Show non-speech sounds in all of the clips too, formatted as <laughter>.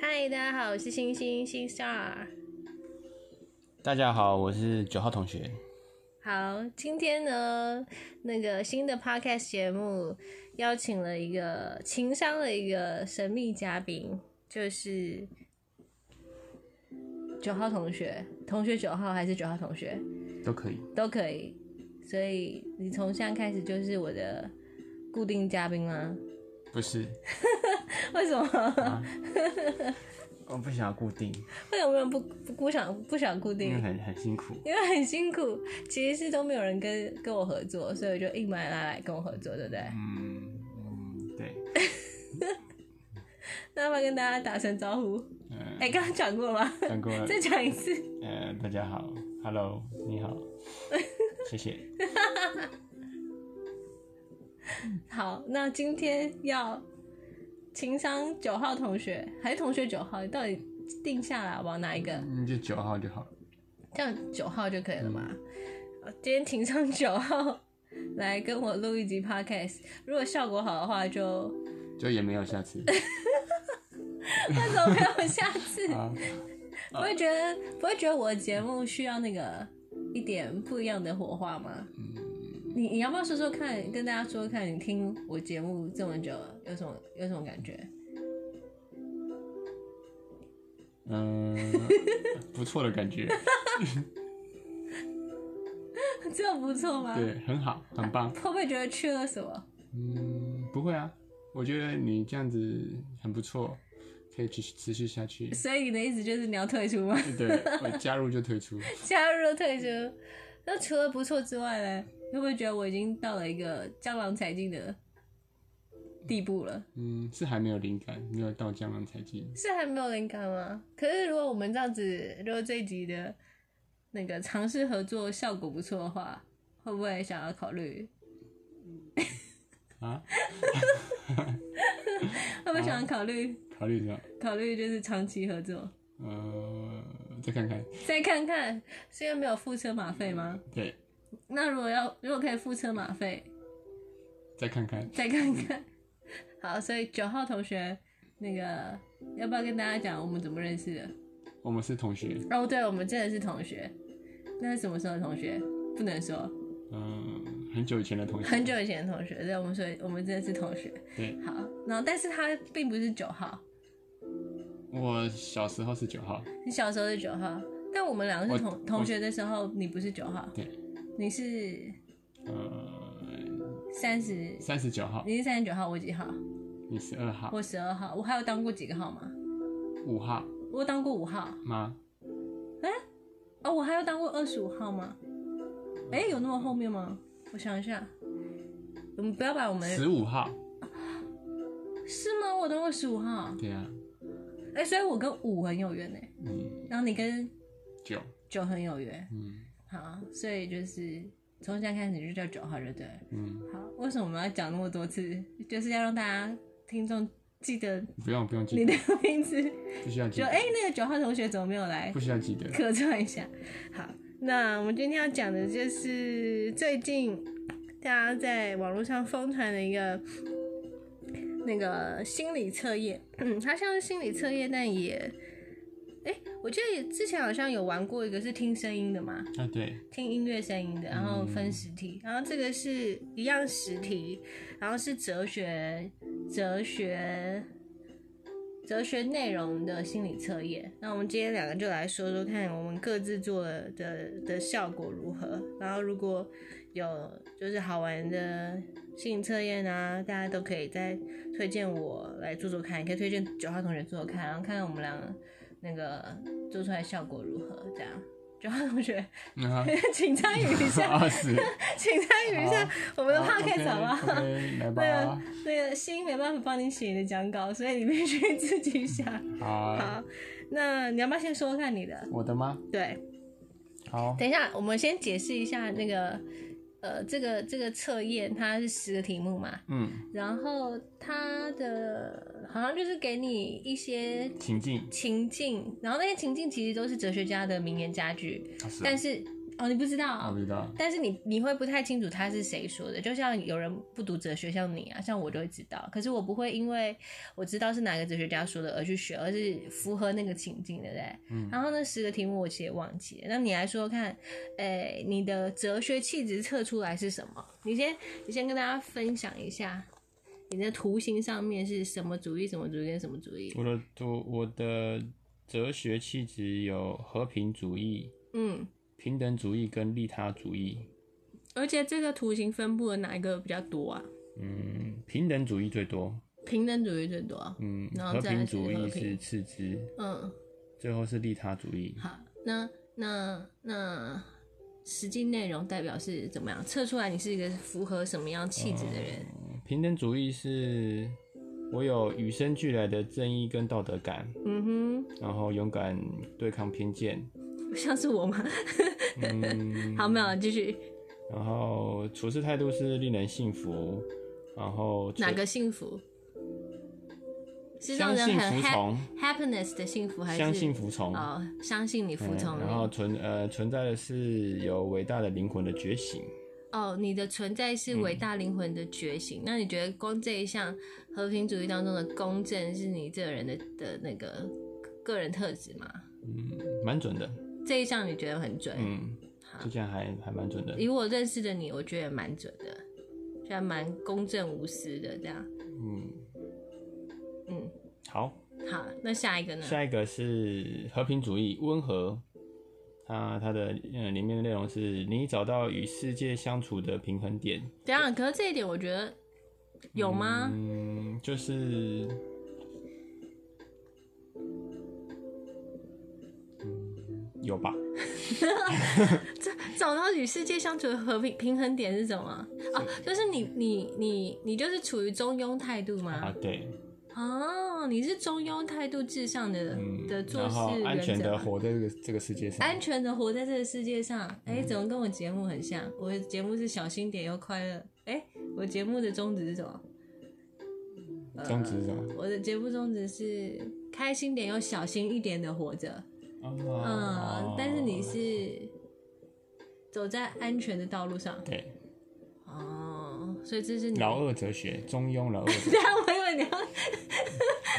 嗨，大家好，我是星星星 star。大家好，我是九号同学。好，今天呢，那个新的 podcast 节目邀请了一个情商的一个神秘嘉宾，就是九号同学，同学九号还是九号同学都可以，都可以。所以你从现在开始就是我的固定嘉宾吗？不是？为什么？ <laughs> 啊、我不想要固定，为什么不不不想不想固因定为？很很辛苦。因为很辛苦，其实是都没有人跟跟我合作，所以我就硬买拉来跟我合作，对不对？嗯嗯，对，那要不要跟大家打声招呼？嗯、哎、刚刚讲过吗？ <laughs> 韩国，再讲一次。呃，大家好，Hello，你好，谢谢。好，那今天要情商九号同学还是同学九号？你到底定下来好不好？哪一个？嗯，就九号就好了。这样九号就可以了嘛。好今天请上九号来跟我录一集 podcast，如果效果好的话就， <laughs> 就也没有下次为什么没有下次？ <laughs> 啊。不会觉得不会觉得我的节目需要那个一点不一样的火花吗？你你要不要说说看，跟大家说说看，你听我节目这么久了，有什么有什么感觉？ <laughs> 嗯，不错的感觉，这样不错吗？对，很好，很棒。会不会觉得缺了什么？。嗯，不会啊，我觉得你这样子很不错，可以继续持续下去 <laughs> 所以你的意思就是你要退出吗？ <laughs> 对，我加入就退出。加入了退出？那除了不错之外呢？你会不会觉得我已经到了一个江郎才尽的地步了？嗯，是还没有灵感，没有到江郎才尽。是还没有灵感吗？可是如果我们这样子，如果这一集的那个尝试合作效果不错的话，会不会想要考虑？啊？会不会想要考虑、考虑一下，考虑就是长期合作？呃，再看看。再看看，是因为没有付车马费吗？对，那如果要如果可以付车马费，再看看。再看看。好，所以九号同学，那个要不要跟大家讲我们怎么认识的？我们是同学，哦，对，我们真的是同学。那是什么时候的同学？不能说。嗯、很久以前的同学。很久以前的同学，对，我们所以我们真的是同学。对，好，然后但是他并不是九号，我小时候是九号，你小时候是九号，但我们两个是我同同学的时候，你不是九号，对，你是呃，三十，三十九号，你是三十九号，我几号？你是二号，我十二号，我还有当过几个号吗？五号我当过五号，吗？哦，我还有当过二十五号吗？嗯哎、有那么后面吗？我想一下，我们不要把我们十五号，是吗？我当过十五号，对啊，哎、所以我跟五很有缘呢、嗯，然后你跟九，九很有缘，嗯好，所以就是从现在开始你就叫九号就对了。嗯，好，为什么我们要讲那么多次？就是要让大家听众记得不用不用记你得，的名字，不需要记就得，哎、那个九号同学怎么没有来不需要记得。客串一下？好，那我们今天要讲的就是最近大家在网络上疯传的一个。那个心理测验，嗯，它像是心理测验，但也，哎、我记得之前好像有玩过一个是听声音的嘛，啊，对，听音乐声音的，然后分十题，然后这个是一样十题，然后是哲学、哲学、哲学内容的心理测验。那我们今天两个就来说说看，我们各自做了的的效果如何。然后如果有就是好玩的心理测验啊，大家都可以再推荐我来做做看，也可以推荐九号同学做做看，然后看看我们两个那个做出来效果如何，这样。九号同学，<laughs> 嗯啊请参与一 <laughs> 下，二十，请参与一下好我们的 podcast 好 <laughs> 啊吧不好？ ？OK，来啊那个吧，那个心没办法帮你写你的讲稿，所以你必须自己想。好，好，那你要不要先说说看你的？我的吗？对，好，等一下，我们先解释一下那个呃，这个这个测验它是十个题目嘛，嗯，然后它的好像就是给你一些情境，情境，然后那些情境其实都是哲学家的名言佳句，啊是啊但是哦，你不知道我啊、不知道。但是你你会不太清楚他是谁说的，就像有人不读哲学，像你啊，像我就会知道。可是我不会因为我知道是哪个哲学家说的而去学，而是符合那个情境，对不对？嗯。然后那十个题目我其实也忘记了，那你来说说看，诶、你的哲学气质测出来是什么？你先你先跟大家分享一下，你的图形上面是什么主义、什么主义跟什么主义？我的我我的哲学气质有和平主义、嗯，平等主义跟利他主义。而且这个图形分布的哪一个比较多啊？嗯，平等主义最多。平等主义最多。嗯，然和后再平来主是和义平是次之，嗯，最后是利他主义。好，那那那实际内容代表是怎么样？测出来你是一个符合什么样气质的人？平等主义是我有与生俱来的正义跟道德感，嗯然后勇敢对抗偏见，哼，像是我吗？嗯， <laughs> 好，没有继续。然后处事态度是令人信服，然后哪个幸福？是让相人信很服 ha 从， happiness 的幸福，还是相信服从，哦，相信你服嗯从然后你。存呃存在的是有伟大的灵魂的觉醒，哦，你的存在是伟大灵魂的觉嗯醒。那你觉得光这一项和平主义当中的公正是你这个人的的那个个人特质吗？嗯，蛮准的，这一项你觉得很准？嗯，好这项还还蛮准的，以我认识的你，我觉得蛮准的，就还蛮公正无私的这样。嗯，嗯，好，好，那下一个呢？下一个是和平主义，温和。它它的呃里面的内容是你找到与世界相处的平衡点，等一下，可是这一点我觉得有吗？嗯，就是，嗯，有吧？找到与世界相处的和平平衡点是什么？哦，就是你你你你就是处于中庸态度啊吗？，对，哦，你是中庸态度至上的、嗯，的做然后事安原全则的吗。活在这个这个世界上，安全的活在这个世界上，哎、嗯怎么跟我节目很像？我的节目是小心点又快乐，哎、我节目的宗旨是什么？宗旨是什么？我的节目宗旨是开心点又小心一点的活着，嗯哦，但是你是走在安全的道路上，对哦，所以这是你。 <laughs> 老二哲学，中庸老二哲对学，啊，我以为你要 <laughs>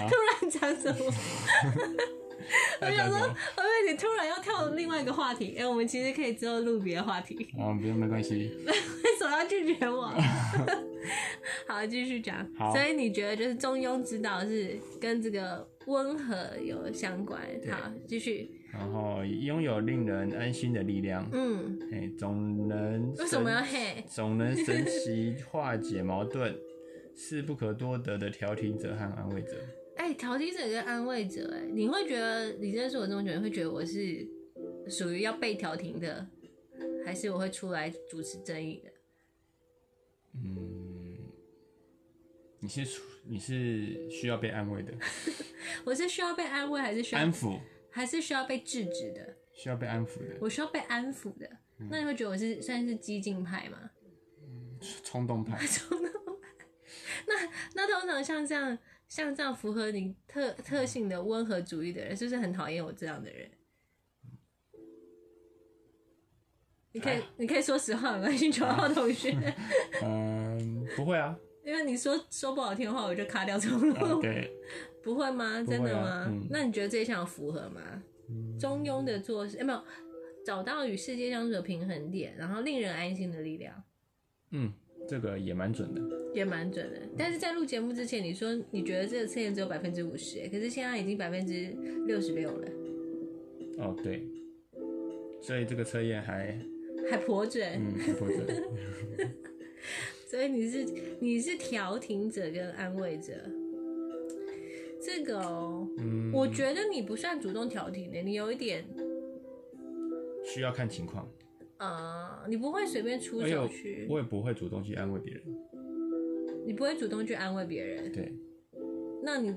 突然讲什 <laughs> 么，我想说 <laughs> 我以为你突然要跳另外一个话题。哎、我们其实可以之后录别的话题， <laughs> 啊，不用没关系，为什么要拒绝我？ <laughs> 好，继续讲。好所以你觉得就是中庸之道是跟这个温和有相关？好，继续。然后拥有令人安心的力量，嗯，哎，总能为什么神要嘿？ <laughs> 总能神奇化解矛盾，是不可多得的调停者和安慰者。哎、调停者跟安慰者、哎，你会觉得你认识我这么久，你会觉得我是属于要被调停的，还是我会出来主持正义的？嗯，你是属你是需要被安慰的，我是需要被安慰，还是需要安抚还是需要被制止的？需要被安抚的，我需要被安抚的。嗯那你会觉得我是算是激进派吗？冲动派。 <laughs> 那通常像这样像这样符合你特特性的温和主义的人，是不是很讨厌我这样的人？你可以还好你可以说实 <laughs> 话，没关系，九号啊同 <laughs> 学。嗯，不会啊，因为你说说不好听的话，我就卡掉重录、啊对，不会吗？真的吗？嗯那你觉得这一项有符合吗？中庸的做事，哎、没有找到与世界相处的平衡点，然后令人安心的力量，嗯，这个也蛮准的。也蛮准的。但是在录节目之前，你说你觉得这个测验只有百分之五十，欸可是现在已经百分之六十六了，哦，对，所以这个测验还还颇准。 <laughs> 嗯还不准。所以你是你是调停者跟安慰者，这个哦，嗯，我觉得你不算主动调停的，你有一点需要看情况，啊、你不会随便出我也手去，哎我也不会主动去安慰别人。你不会主动去安慰别人。对那你，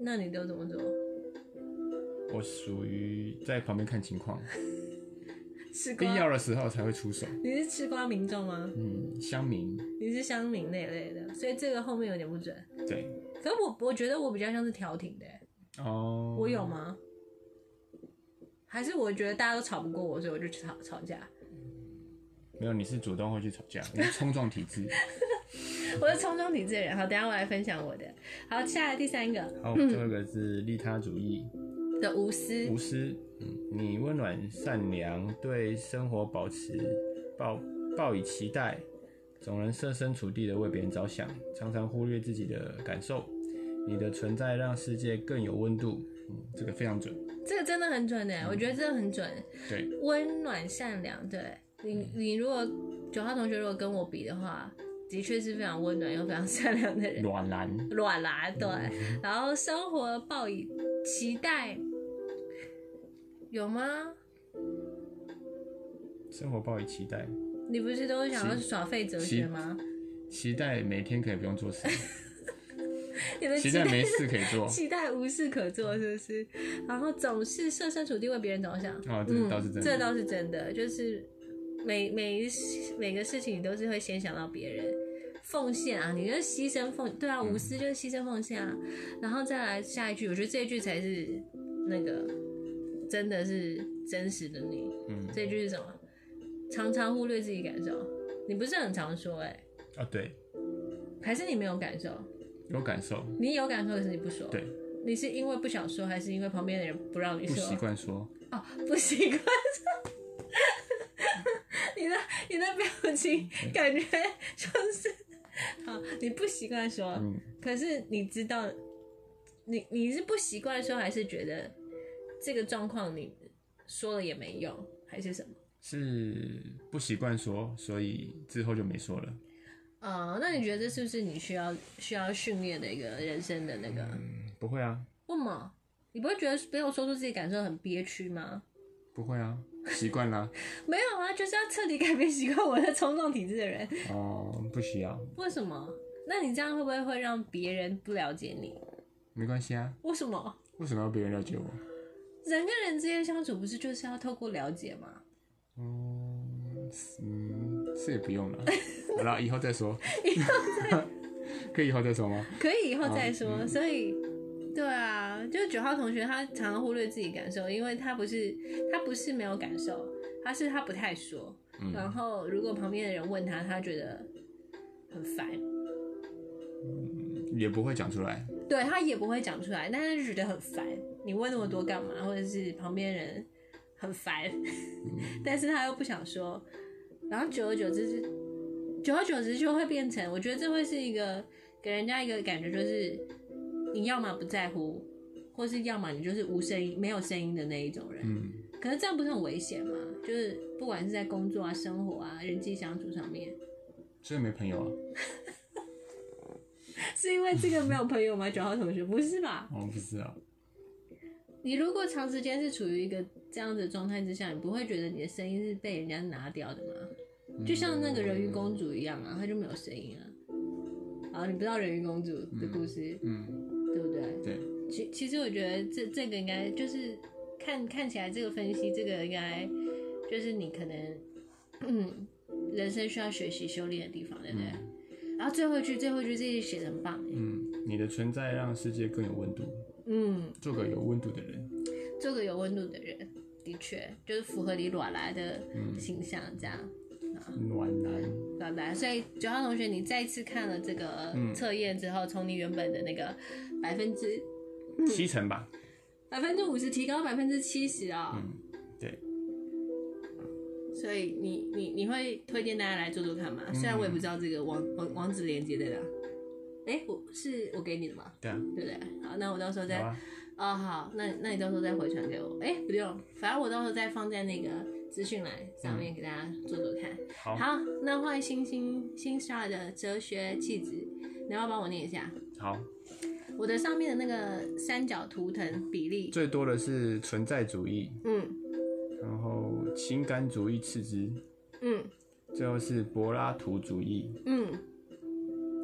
那你都怎么做？我属于在旁边看 <laughs> 情况，吃瓜必？要的时候才会出手。你是吃瓜民众吗？嗯，乡民，你是乡民那一类的，所以这个后面有点不准。对，可我我觉得我比较像是调停的欸、哦，我有吗？还是我觉得大家都吵不过我，所以我就去吵吵架。没有，你是主动会去吵 <laughs> 架，你是冲撞体质。我是冲撞体质的人。好，等一下我来分享我的。好，下来第三个好，最后一个是利他主义，的无私，无私。嗯，你温暖善良，对生活保持抱抱以期待，总能设身处地的为别人着想，常常忽略自己的感受。你的存在让世界更有温度。嗯，这个非常准。这个真的很准哎、我觉得真的很准。对，温暖善良，对你，你如果九号同学如果跟我比的话，的确是非常温暖又非常善良的人。暖男，软啦，对，然后生活抱以期待，有吗？生活抱以期待，你不是都想要耍废哲学吗？期待每天可以不用 <laughs> 做事，你的期期待待没事可以 <laughs> <laughs> 做。期待无事可做，是不是？然后总是设身处地为别人着想，嗯哦，这个倒是真这的。倒是真的，就是每每一事每个事情你都是会先想到别人，奉献啊，你就是牺牲奉，对啊，无私就是牺牲奉献啊，然后再来下一句，我觉得这一句才是那个真的是真实的你，嗯，这一句是什么？常常忽略自己感受，你不是很常说哎、啊，对，还是你没有感受？有感受，你有感受，可是你不说。对，你是因为不想说，还是因为旁边的人不让你不说？习惯说。哦，不习惯。 <laughs> 你的你的表情嗯感觉就是，好，你不习惯说，嗯，可是你知道，你你是不习惯说，还是觉得这个状况你说了也没用，还是什么？是不习惯说，所以之后就没说了。呃，那你觉得这是不是你需要需要训练的一个人生的那个？嗯，不会啊，为什么？你不会觉得没有说出自己感受很憋屈吗？不会啊，习惯啦。没有啊，就是要彻底改变习惯我的冲动体质的人。哦、不需要，为什么？那你这样会不会会让别人不了解你？没关系啊。为什么？为什么要别人了解我？人跟人之间相处不是就是要透过了解吗？嗯，嗯，这也不用了。 <laughs> 好了，以后再说。 <laughs> 可以以后再说吗？可以以后再说。所以，对啊，就是九号同学他常常忽略自己感受，因为他不是他不是没有感受，他是他不太说。然后如果旁边的人问他，他觉得很烦，也不会讲出来。对他也不会讲出来，但是就觉得很烦。你问那么多干嘛？或者是旁边人很烦， <laughs> 但是他又不想说，然后久而久之是，久而久之就会变成，我觉得这会是一个给人家一个感觉，就是你要么不在乎，或是要么你就是无声音、没有声音的那一种人。嗯，可是这样不是很危险吗？就是不管是在工作啊、生活啊、人际相处上面， <laughs> 所以没朋友啊。是因为这个没有朋友吗？九号同学不是吧？哦我不知道。你如果长时间是处于一个这样子的状态之下，你不会觉得你的声音是被人家拿掉的吗？就像那个人鱼公主一样啊，她就没有声音啊。啊，你不知道人鱼公主的故事，嗯，对不对？对，其其实我觉得这这个应该就是看看起来这个分析，这个应该就是你可能嗯人生需要学习修炼的地方，对不对？然后最后一句，最后一句这一句写的很棒欸，嗯，你的存在让世界更有温度，嗯。做个有温度的人。做个有温度的人，的确就是符合你软来的嗯形象，这样暖男，软来。啊所以九号同学，你再次看了这个嗯测验之后，从、你原本的那个百分之七成吧。百分之五十提高百分之七十啊，嗯，对，所以你你你会推荐大家来做做看吗？嗯虽然我也不知道这个网网网址连接在哪，哎、我是我给你的吗？对啊，对不对？好，那我到时候再好啊，哦，好，那那你到时候再回传给我。哎、不用，反正我到时候再放在那个资讯栏上嗯面给大家做做看。好那换星星星 star 的哲学气质，你要不要帮我念一下？好。我的上面的那个三角图腾比例，最多的是存在主义，嗯然后情感主义次之，嗯最后是柏拉图主义。嗯。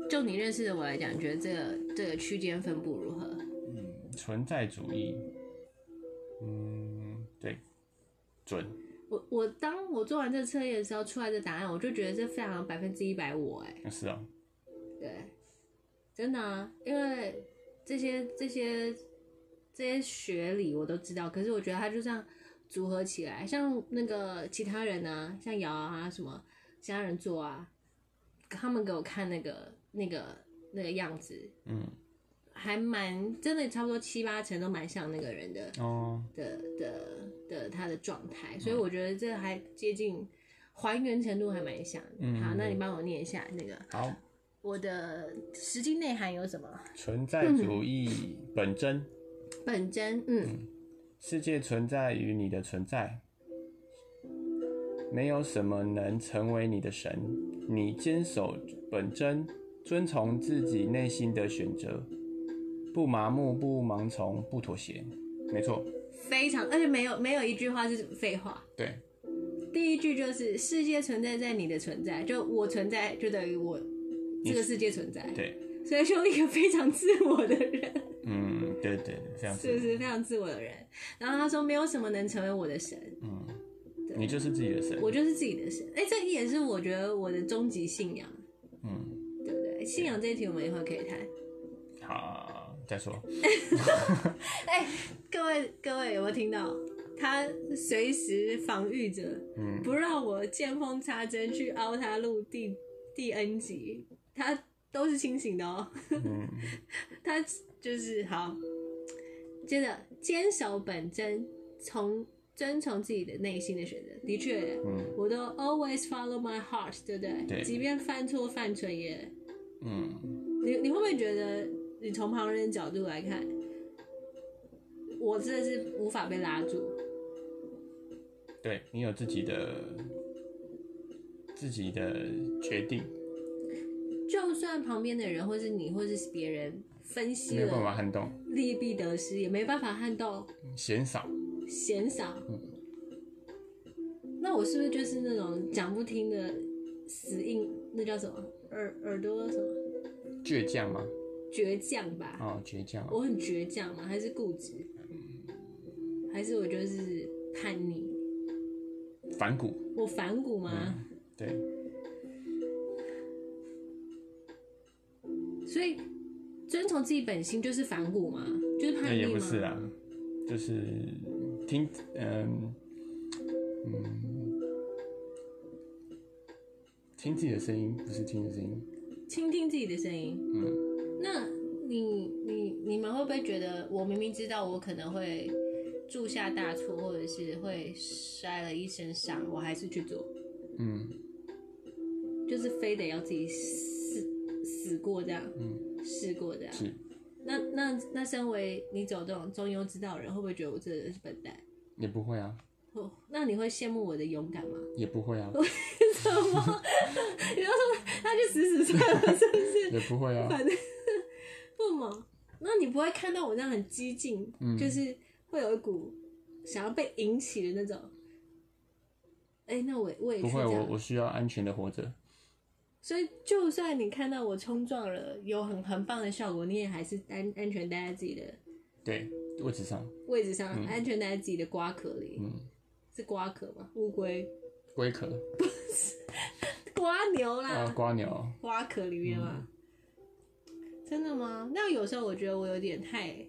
就你认识的我来讲，你觉得这个这个区间分布如何？嗯，存在主义，嗯，对，准，我我当我做完这个测验的时候，出来的答案，我就觉得这非常百分之一百五，哎，是啊，对，真的啊，因为这些这些这些学理我都知道，可是我觉得它就这样组合起来，像那个其他人啊，像瑶啊什么，家人做啊，他们给我看那个那个那个样子，嗯，还蛮真的，差不多七八成都蛮像那个人的哦，的的的他的状态，嗯所以我觉得这还接近还原程度还蛮像的。嗯好，那你帮我念一下那个好，我的实际内涵有什么？存在主义嗯本真，本真，嗯世界存在于你的存在，没有什么能成为你的神。你坚守本真，遵从自己内心的选择，不麻木，不盲从，不妥协。没错，非常，而且没有没有一句话是废话。对，第一句就是世界存在在你的存在，就我存在就等于我这个世界存在，对，所以兄弟一个非常自我的人， <laughs> 嗯，对对对，这样是不子，是非常自我的人？然后他说没有什么能成为我的神，嗯，对你就是自己的神，我就是自己的神。哎、这也是我觉得我的终极信仰，嗯，对不对？信仰这一题我们一会儿可以谈。好，再说，哎、各位各位有没有听到？他随时防御着，嗯不让我见缝插针去凹他录第第 N 集，他都是清醒的哦。嗯， <laughs> 他就是好，真的坚守本真，从遵从自己的内心的选择。的确，嗯我都 always follow my heart，对不对？对即便犯错犯蠢也，嗯，你你会不会觉得，你从旁人的角度来看，我真的是无法被拉住？对你有自己的自己的决定，就算旁边的人，或是你，或是别人分析没有办法了撼动，利弊得失，也没办法撼动嫌少。嫌少。嗯那我是不是就是那种讲不听的死硬？那叫什么耳耳朵什么倔强吗？倔强吧？哦，倔强。我很倔强吗？还是固执？还是我就是叛逆？反骨。我反骨嗯吗？对，所以遵从自己本心就是反骨吗？就是那叛逆也吗？不是啦，就是听，嗯、嗯，听自己的声音，不是听的声音。倾听自己的声音。嗯，那你你你们会不会觉得，我明明知道我可能会铸下大错，或者是会摔了一身伤，我还是去做，嗯，就是非得要自己死死过这样，嗯试过这样。是，那那那，身为你走这种中庸之道的人，会不会觉得我这人是笨蛋？也不会啊，哦，那你会羡慕我的勇敢吗？也不会啊，什 <laughs> 么？你要说他就死死算了，是不是？也不 <laughs> 嗯会啊，反正不嘛，那你不会看到我那样很激进，嗯就是会有一股想要被引起的那种。哎、那我也我也不去这会，我样。我需要安全的活着。所以，就算你看到我冲撞了，有很很棒的效果，你也还是安安全待在自己的对，位置上，位置上，安全待在自己的瓜壳里。嗯，是瓜壳吗？乌龟、龟壳，瓜牛啦。啊，瓜鸟，花壳里面嗯吗？真的吗？那有时候我觉得我有点太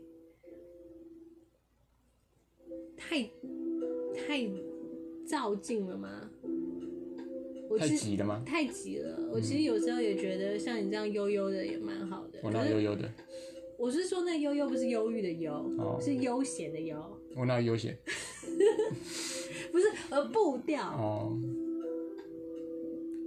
太太照进了吗？我太其实急了嗯吗？太急了。我其实有时候也觉得像你这样悠悠的也蛮好的。我可那是悠悠的，我是说那悠悠不是忧郁的忧，哦是悠闲的悠，我那悠闲，不是呃步调。哦，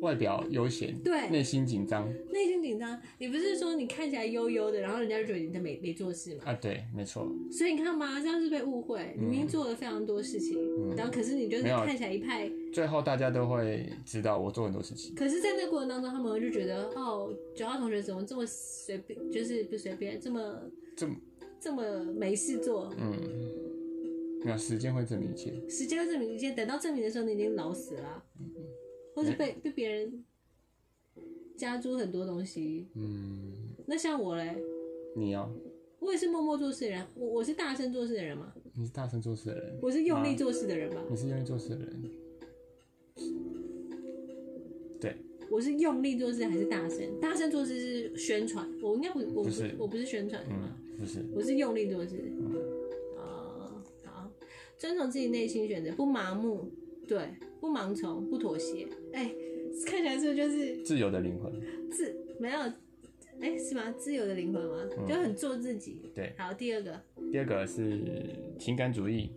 外表悠闲，对内心紧张内心紧张，你不是说你看起来悠悠的，然后人家就觉得你在没没做事吗？啊，对，没错，所以你看嘛，这样是被误会。你明明做了非常多事情，然后可是你就是嗯没有啊看起来一派，最后大家都会知道我做很多事情，可是，在那过程当中，他们就觉得哦，九号同学怎么这么随便，就是不随便，这么这么这么没事做。嗯，没有时间会证明一切，时间会证明一切，等到证明的时候，你已经老死了啊，嗯或是哎被被别人加诸很多东西。嗯，那像我嘞，你哦，我也是默默做事的人，我我是大声做事的人嘛，你是大声做事的人，我是用力妈，做事的人吧，你是用力做事的人，对，我是用力做事还是大声？大声做事是宣传，我应该不，我不是我不是宣传的嘛，嗯，不是，我是用力做事。哦，好，遵从自己内心选择，不麻木，对，不盲从，不妥协。哎、看起来是不是就是自由的灵魂。自没有，哎、是吗？自由的灵魂吗？就很做自己。嗯对，好，第二个，第二个是情感主义，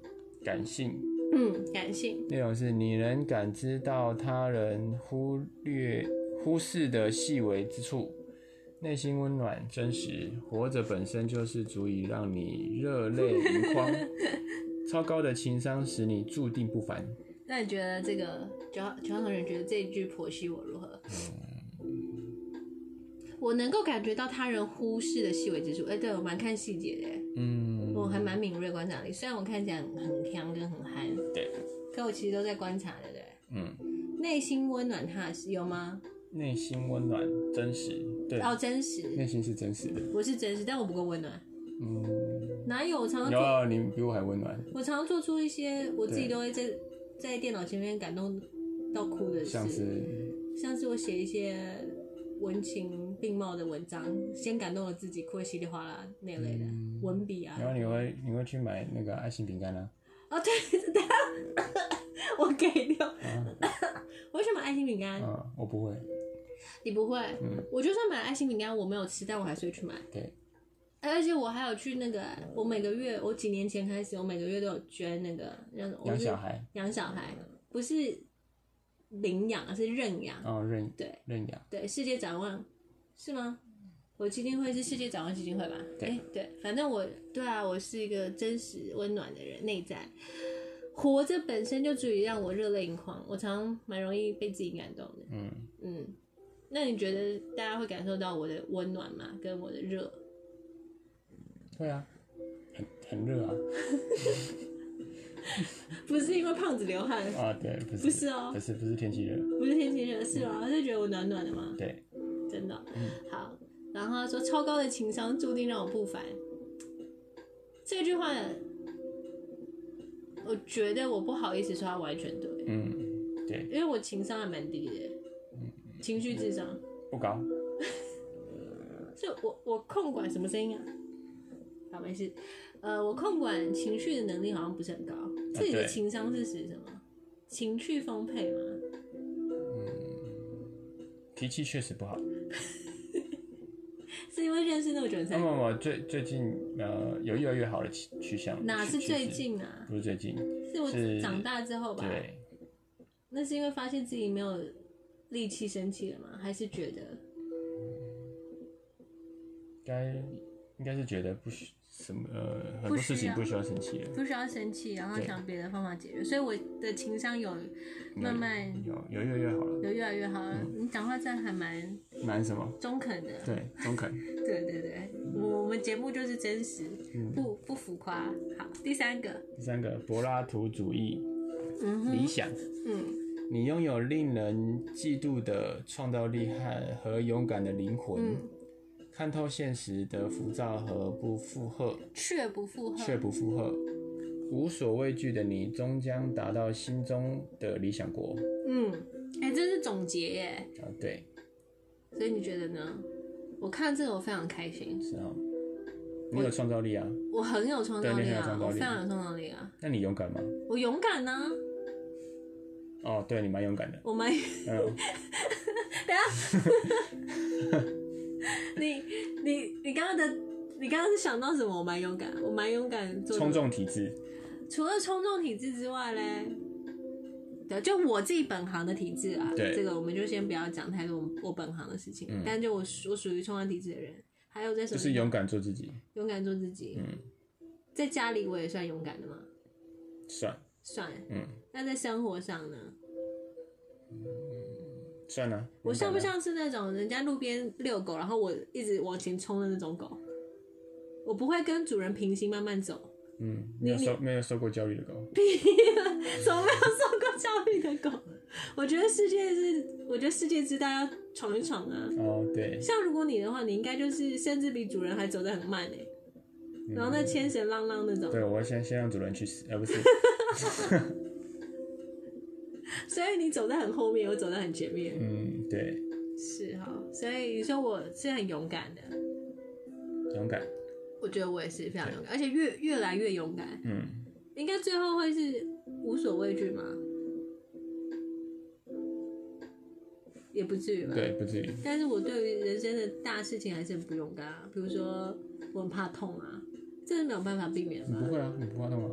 感性。嗯，感性，内容是你能感知到他人忽略、忽视的细微之处，内心温暖、真实，活着本身就是足以让你热泪 <laughs> 盈眶。超高的情商使你注定不凡。那你觉得这个九号九号同学觉得这一句剖析我如何？我能够感觉到他人忽视的细微之处。哎、对我蛮看细节的耶，嗯，我还蛮敏锐观察力。虽然我看起来很很强跟很憨，对，可我其实都在观察，对不对？嗯，内心温暖踏实有吗？内心温暖、真实，对，哦，真实，内心是真实的。我是真实，但我不够温暖。嗯，哪有？我常常有做啊你比我还温暖，我常常做出一些我自己对都会在在电脑前面感动到哭的事，像是像是我写一些文情并茂的文章，先感动了自己，哭得稀里哗啦那类的、文笔啊。嗯然后你会你会去买那个爱心饼干啊，哦，对， <laughs> 是的，我给掉。我为什么爱心饼干？嗯，我不会，你不会？嗯我就算买了爱心饼干，我没有吃，但我还是会去买。对，而且我还有去那个，我每个月，我几年前开始，我每个月都有捐那个，让我养是小孩，养小孩，不是领养，是认养。哦，认对认养，对，世界展望是吗？我基金会是世界展望基金会吧？对诶对，反正我对啊，我是一个真实温暖的人，内在活着本身就足以让我热泪盈眶。我常蛮容易被自己感动的。嗯。嗯，那你觉得大家会感受到我的温暖吗？跟我的热？对啊，很很热啊！不是因为胖子流汗，啊，对，不是不是哦不是不是天气热，不是天气热，是吗？就觉得我暖暖的吗？对，真的、好。然后他说超高的情商注定让我不凡，这句话我觉得我不好意思说他完全对，嗯，对，因为我情商还蛮低的，情绪智商，不高，这我我控管什么声音啊？好，没事。呃，我控管情绪的能力好像不是很高，这里的对情商是指什么？情绪丰沛吗？脾气确实不好。是因为认识那么久你才那？么我最最近呃有越来越好的趋趋向，哪是趋趋势最？近啊？不是最近，是我是长大之后吧？对，那是因为发现自己没有力气生气了吗？还是觉得应该应该是觉得不需什么呃很不多需事情要不需要生气了，不需要生气，然后对想别的方法解决？所以我的情商有慢慢有有越来越好了，有越来越好了。你讲话真的还蛮蛮什么？中肯的，对，中 <laughs> 肯，对对对，我我们节目就是真实，嗯不不浮夸。好，第三个，第三个柏拉图主义嗯理哼，想。嗯你拥有令人嫉妒的创造力和和勇敢的灵魂，嗯，看透现实的浮躁和不负荷，却不附和，却不负荷，无所畏惧的你终将达到心中的理想国。嗯，哎、这是总结耶。啊，对，所以你觉得呢？我看这个我非常开心，是啊，你有创造力啊，我很有创造对力你很有啊创，造我力非常有创造力啊，那你勇敢吗？我勇敢呢、啊哦，对你蛮勇敢的，我们嗯， <laughs> 你你你刚刚的，你刚刚是想到什么？我蛮勇敢，我蛮勇敢 <laughs> 做。冲。撞体制，除了冲撞体制之外嘞，对，就我自己本行的体制啊，对嗯这个我们就先不要讲太多我我本行的事情。但就我属我属于冲撞体制的人，还有在什就么？是勇敢做自己，勇敢做自己。嗯，在家里我也算勇敢的嘛，算，算。嗯，那在生活上呢？算了、啊，我勇敢像不啊？像是那种人家路边遛狗，然后我一直往前冲的那种狗？我不会跟主人平行慢慢走。 <laughs> 嗯，没有你受没有受过教育的狗，怎么没有受过教育的狗？我觉得世界是，我觉得世界之大要闯一闯啊！哦，对，像如果你的话，你应该就是甚至比主人还走得很慢哎、嗯然后那牵绳浪浪那种，对，我要先先让主人去死，而、<laughs> 不是，所以你走在很后面，我走在很前面，嗯，对，是哈。所以你说我是很勇敢的，勇敢，我觉得我也是非常勇敢，而且越越来越勇敢，嗯，应该最后会是无所畏惧吗？也不至于吧。对，不至于。但是我对于人生的大事情还是很不勇敢啊，比如说我很怕痛啊，这是没有办法避免你吧不。会啊，你不怕痛啊？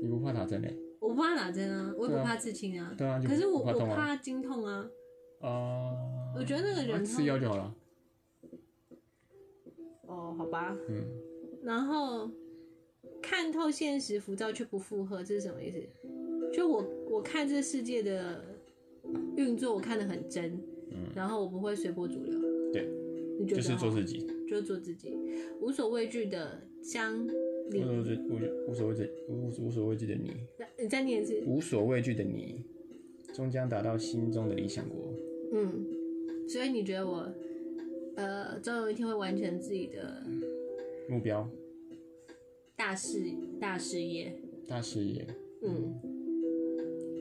你不怕打针嘞？我不怕打针啊，我也对不啊怕刺青啊，对啊，就可是我不怕我痛啊。怕经痛啊，哦，我觉得那个啊忍吃痛药就好了。哦，好吧。嗯，然后看透现实，浮躁却不附和，这是什么意思？就我我看这世界的运作，我看得很真，然后我不会随波逐流。嗯对，你觉就得是做哦自己，就是做自己，无所畏惧的将无你所畏无无所谓的无无所畏惧的你，你再念一次，无所畏惧的你，终将达到心中的理想国。嗯，所以你觉得我呃，总有一天会完成自己的目标大事大事业，大事业，嗯，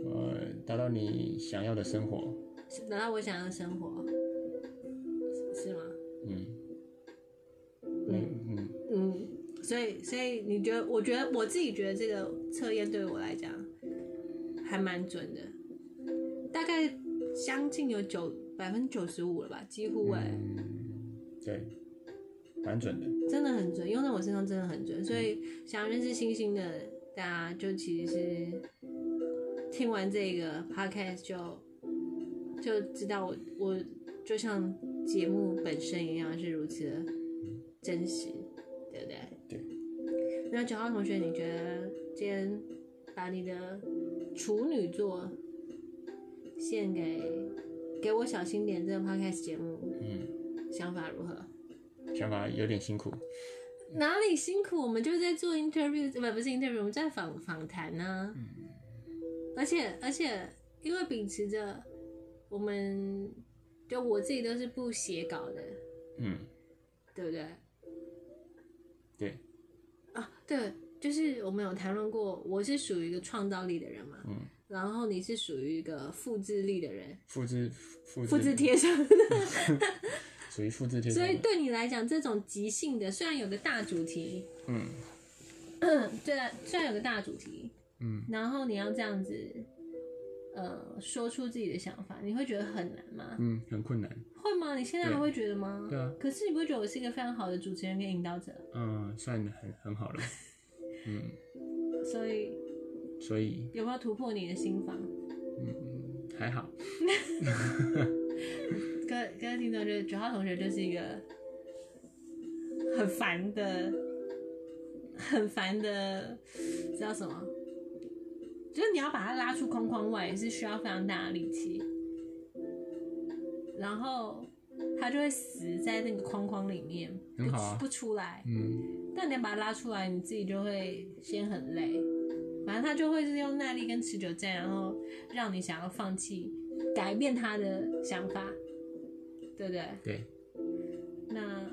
呃，达到你想要的生活。拿到我想要的生活，是是吗？嗯嗯嗯嗯，嗯，所以所以你觉得？我觉得我自己觉得这个测验对我来讲还蛮准的，大概将近有九百分之九十五了吧，几嗯乎哎、嗯对，蛮准的。真的很准，用在我身上真的很准。所以想认识星星的大家，就其实是听完这个 podcast 就就知道我我就像节目本身一样是如此的真实，对不对？对。那九号同学，你觉得今天把你的处女座献给给我小心点这个 podcast 节目，嗯，想法如何？想法有点辛苦，哪里辛苦？我们就是在做 interview，不不是 interview，我们在访访谈呢。而且而且，因为秉持着我们，就我自己都是不写稿的，嗯，对不对？对，啊，对，就是我们有谈论过，我是属于一个创造力的人嘛，嗯，然后你是属于一个复制力的人，复制复复制制贴上。属于复制贴上所以的，对你来讲，这种即兴的，虽然有个大主题， <coughs> 嗯，对啊，虽然有个大主题，嗯，然后你要这样子，呃，说出自己的想法，你会觉得很难吗？嗯，很困难。会吗？你现在还对会觉得吗？对啊。可是你不会觉得我是一个非常好的主持人跟引导者，嗯，算很很好 <laughs> 了。嗯，所以所以嗯有没有突破你的心房？还好。各各位听众，就是九号同学就是一个很烦的、很烦的，叫什么？就是你要把他拉出框框外，也是需要非常大的力气。然后他就会死在那个框框里面，不很好啊不出来。嗯，但你把它拉出来，你自己就会先很累。反正他就会是用耐力跟持久战，然后让你想要放弃、改变他的想法，对不对？对。那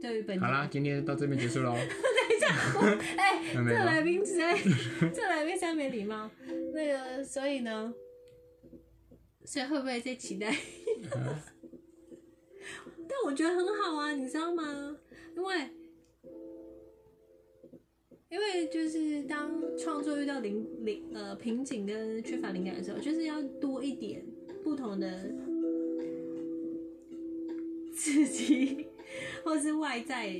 对于本集好啦，今天到这边结束 <laughs> 喽。哎、那没这了来宾实在，这来宾实在没礼貌。那个，所以呢，所以会不会再期待？啊但我觉得很好啊，你知道吗？因为，因为就是当创作遇到灵灵呃瓶颈跟缺乏灵感的时候，就是要多一点不同的刺激，或是外在，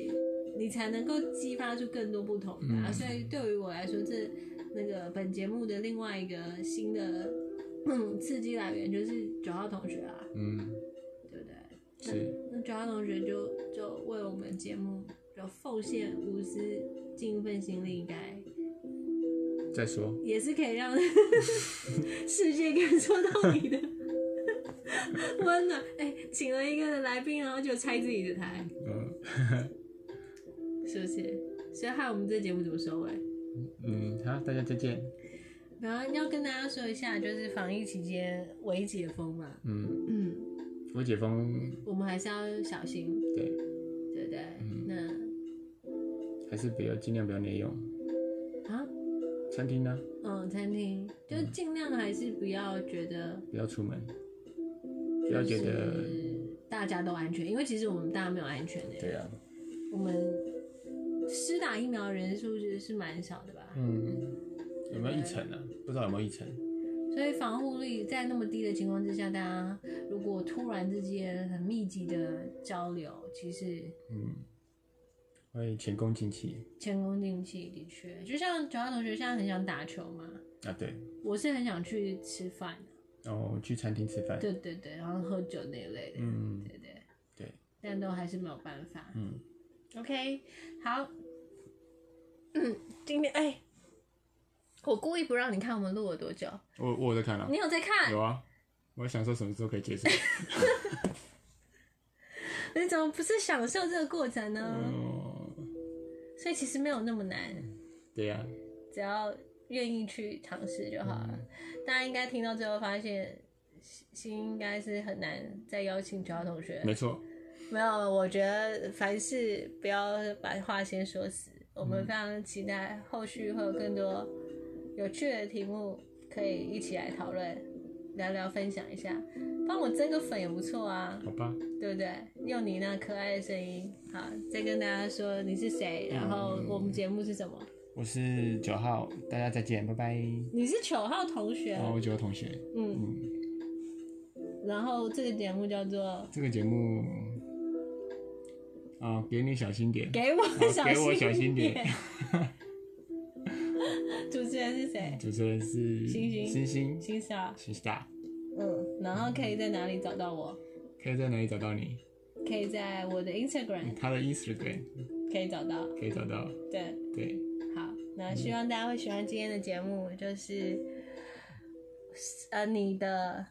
你才能够激发出更多不同的、啊。所以对于我来说，这那个本节目的另外一个新的、嗯、刺激来源就是九号同学啊，嗯，对不对？是，那九号同学就就为我们节目就奉献无私，尽一份心力，应该再说。也是可以让 <laughs> 世界感受到你的 <laughs> 温暖。哎、请了一个来宾，然后就拆自己的台，嗯是不是？所以害我们这节目怎么收尾？嗯，好，大家再见。然后要跟大家说一下，就是防疫期间微解封嘛，嗯，嗯，我解封，我们还是要小心，对，对不对？那还是不要尽量不要内用。啊，餐厅呢，嗯，餐厅就尽量还是不要觉得不要出门，不要觉得，大家都安全，因为其实我们大家没有安全的、对啊，我们施打疫苗的人数是是蛮少的吧？嗯，有没有一层啊？不知道有没有一层，所所以防护力在那么低的情况之下，大家如果突然之间很密集的交流，其实会前功尽弃前功尽弃。的确，就像九号同学现在很想打球嘛，啊。对，我是很想去吃饭，然后去餐厅吃饭，对对对，然后喝酒那一类的，嗯对对对，但都还是没有办法。嗯，OK，好，嗯，今天哎。我故意不让你看我们录了多久，我我有在看了、你有在看？有啊，我想说什么时候可以结束。你怎么不是享受这个过程呢？嗯哦，所以其实没有那么难，对呀、只要愿意去尝试就好了。大家应该听到最后发现，心心应该是很难再邀请其他同学。没错，没有，我觉得凡事不要把话先说死。我嗯们非常期待后续会有更多有趣的题目可以一起来讨论、聊聊、分享一下。帮我增个粉也不错啊。好吧，对不对？用你那可爱的声音，好，再跟大家说你是谁，然嗯后我们节目是什么？我是九号，大家再见，拜拜。你是九号同学，然后哦我九个同学，嗯，嗯然后这个节目叫做这个节目啊、给你小心点，“给我小心哦给我小心点 <laughs> 点”。主持人是谁？主持人是星星星星欣赏，星大，嗯，然后可以在哪里找到我？可以在哪里找到你？嗯可以在我的 Instagram 他的 Instagram 可以找到。可以找到，对，对，好，那希望大家会喜欢今天的节目，就是呃你的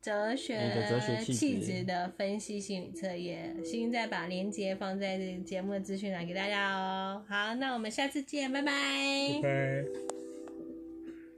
哲你的哲学学气质气质的分析心理测验，欣欣再把链接放在这个节目的资讯栏给大家哦。好，那我们下次见，拜拜拜。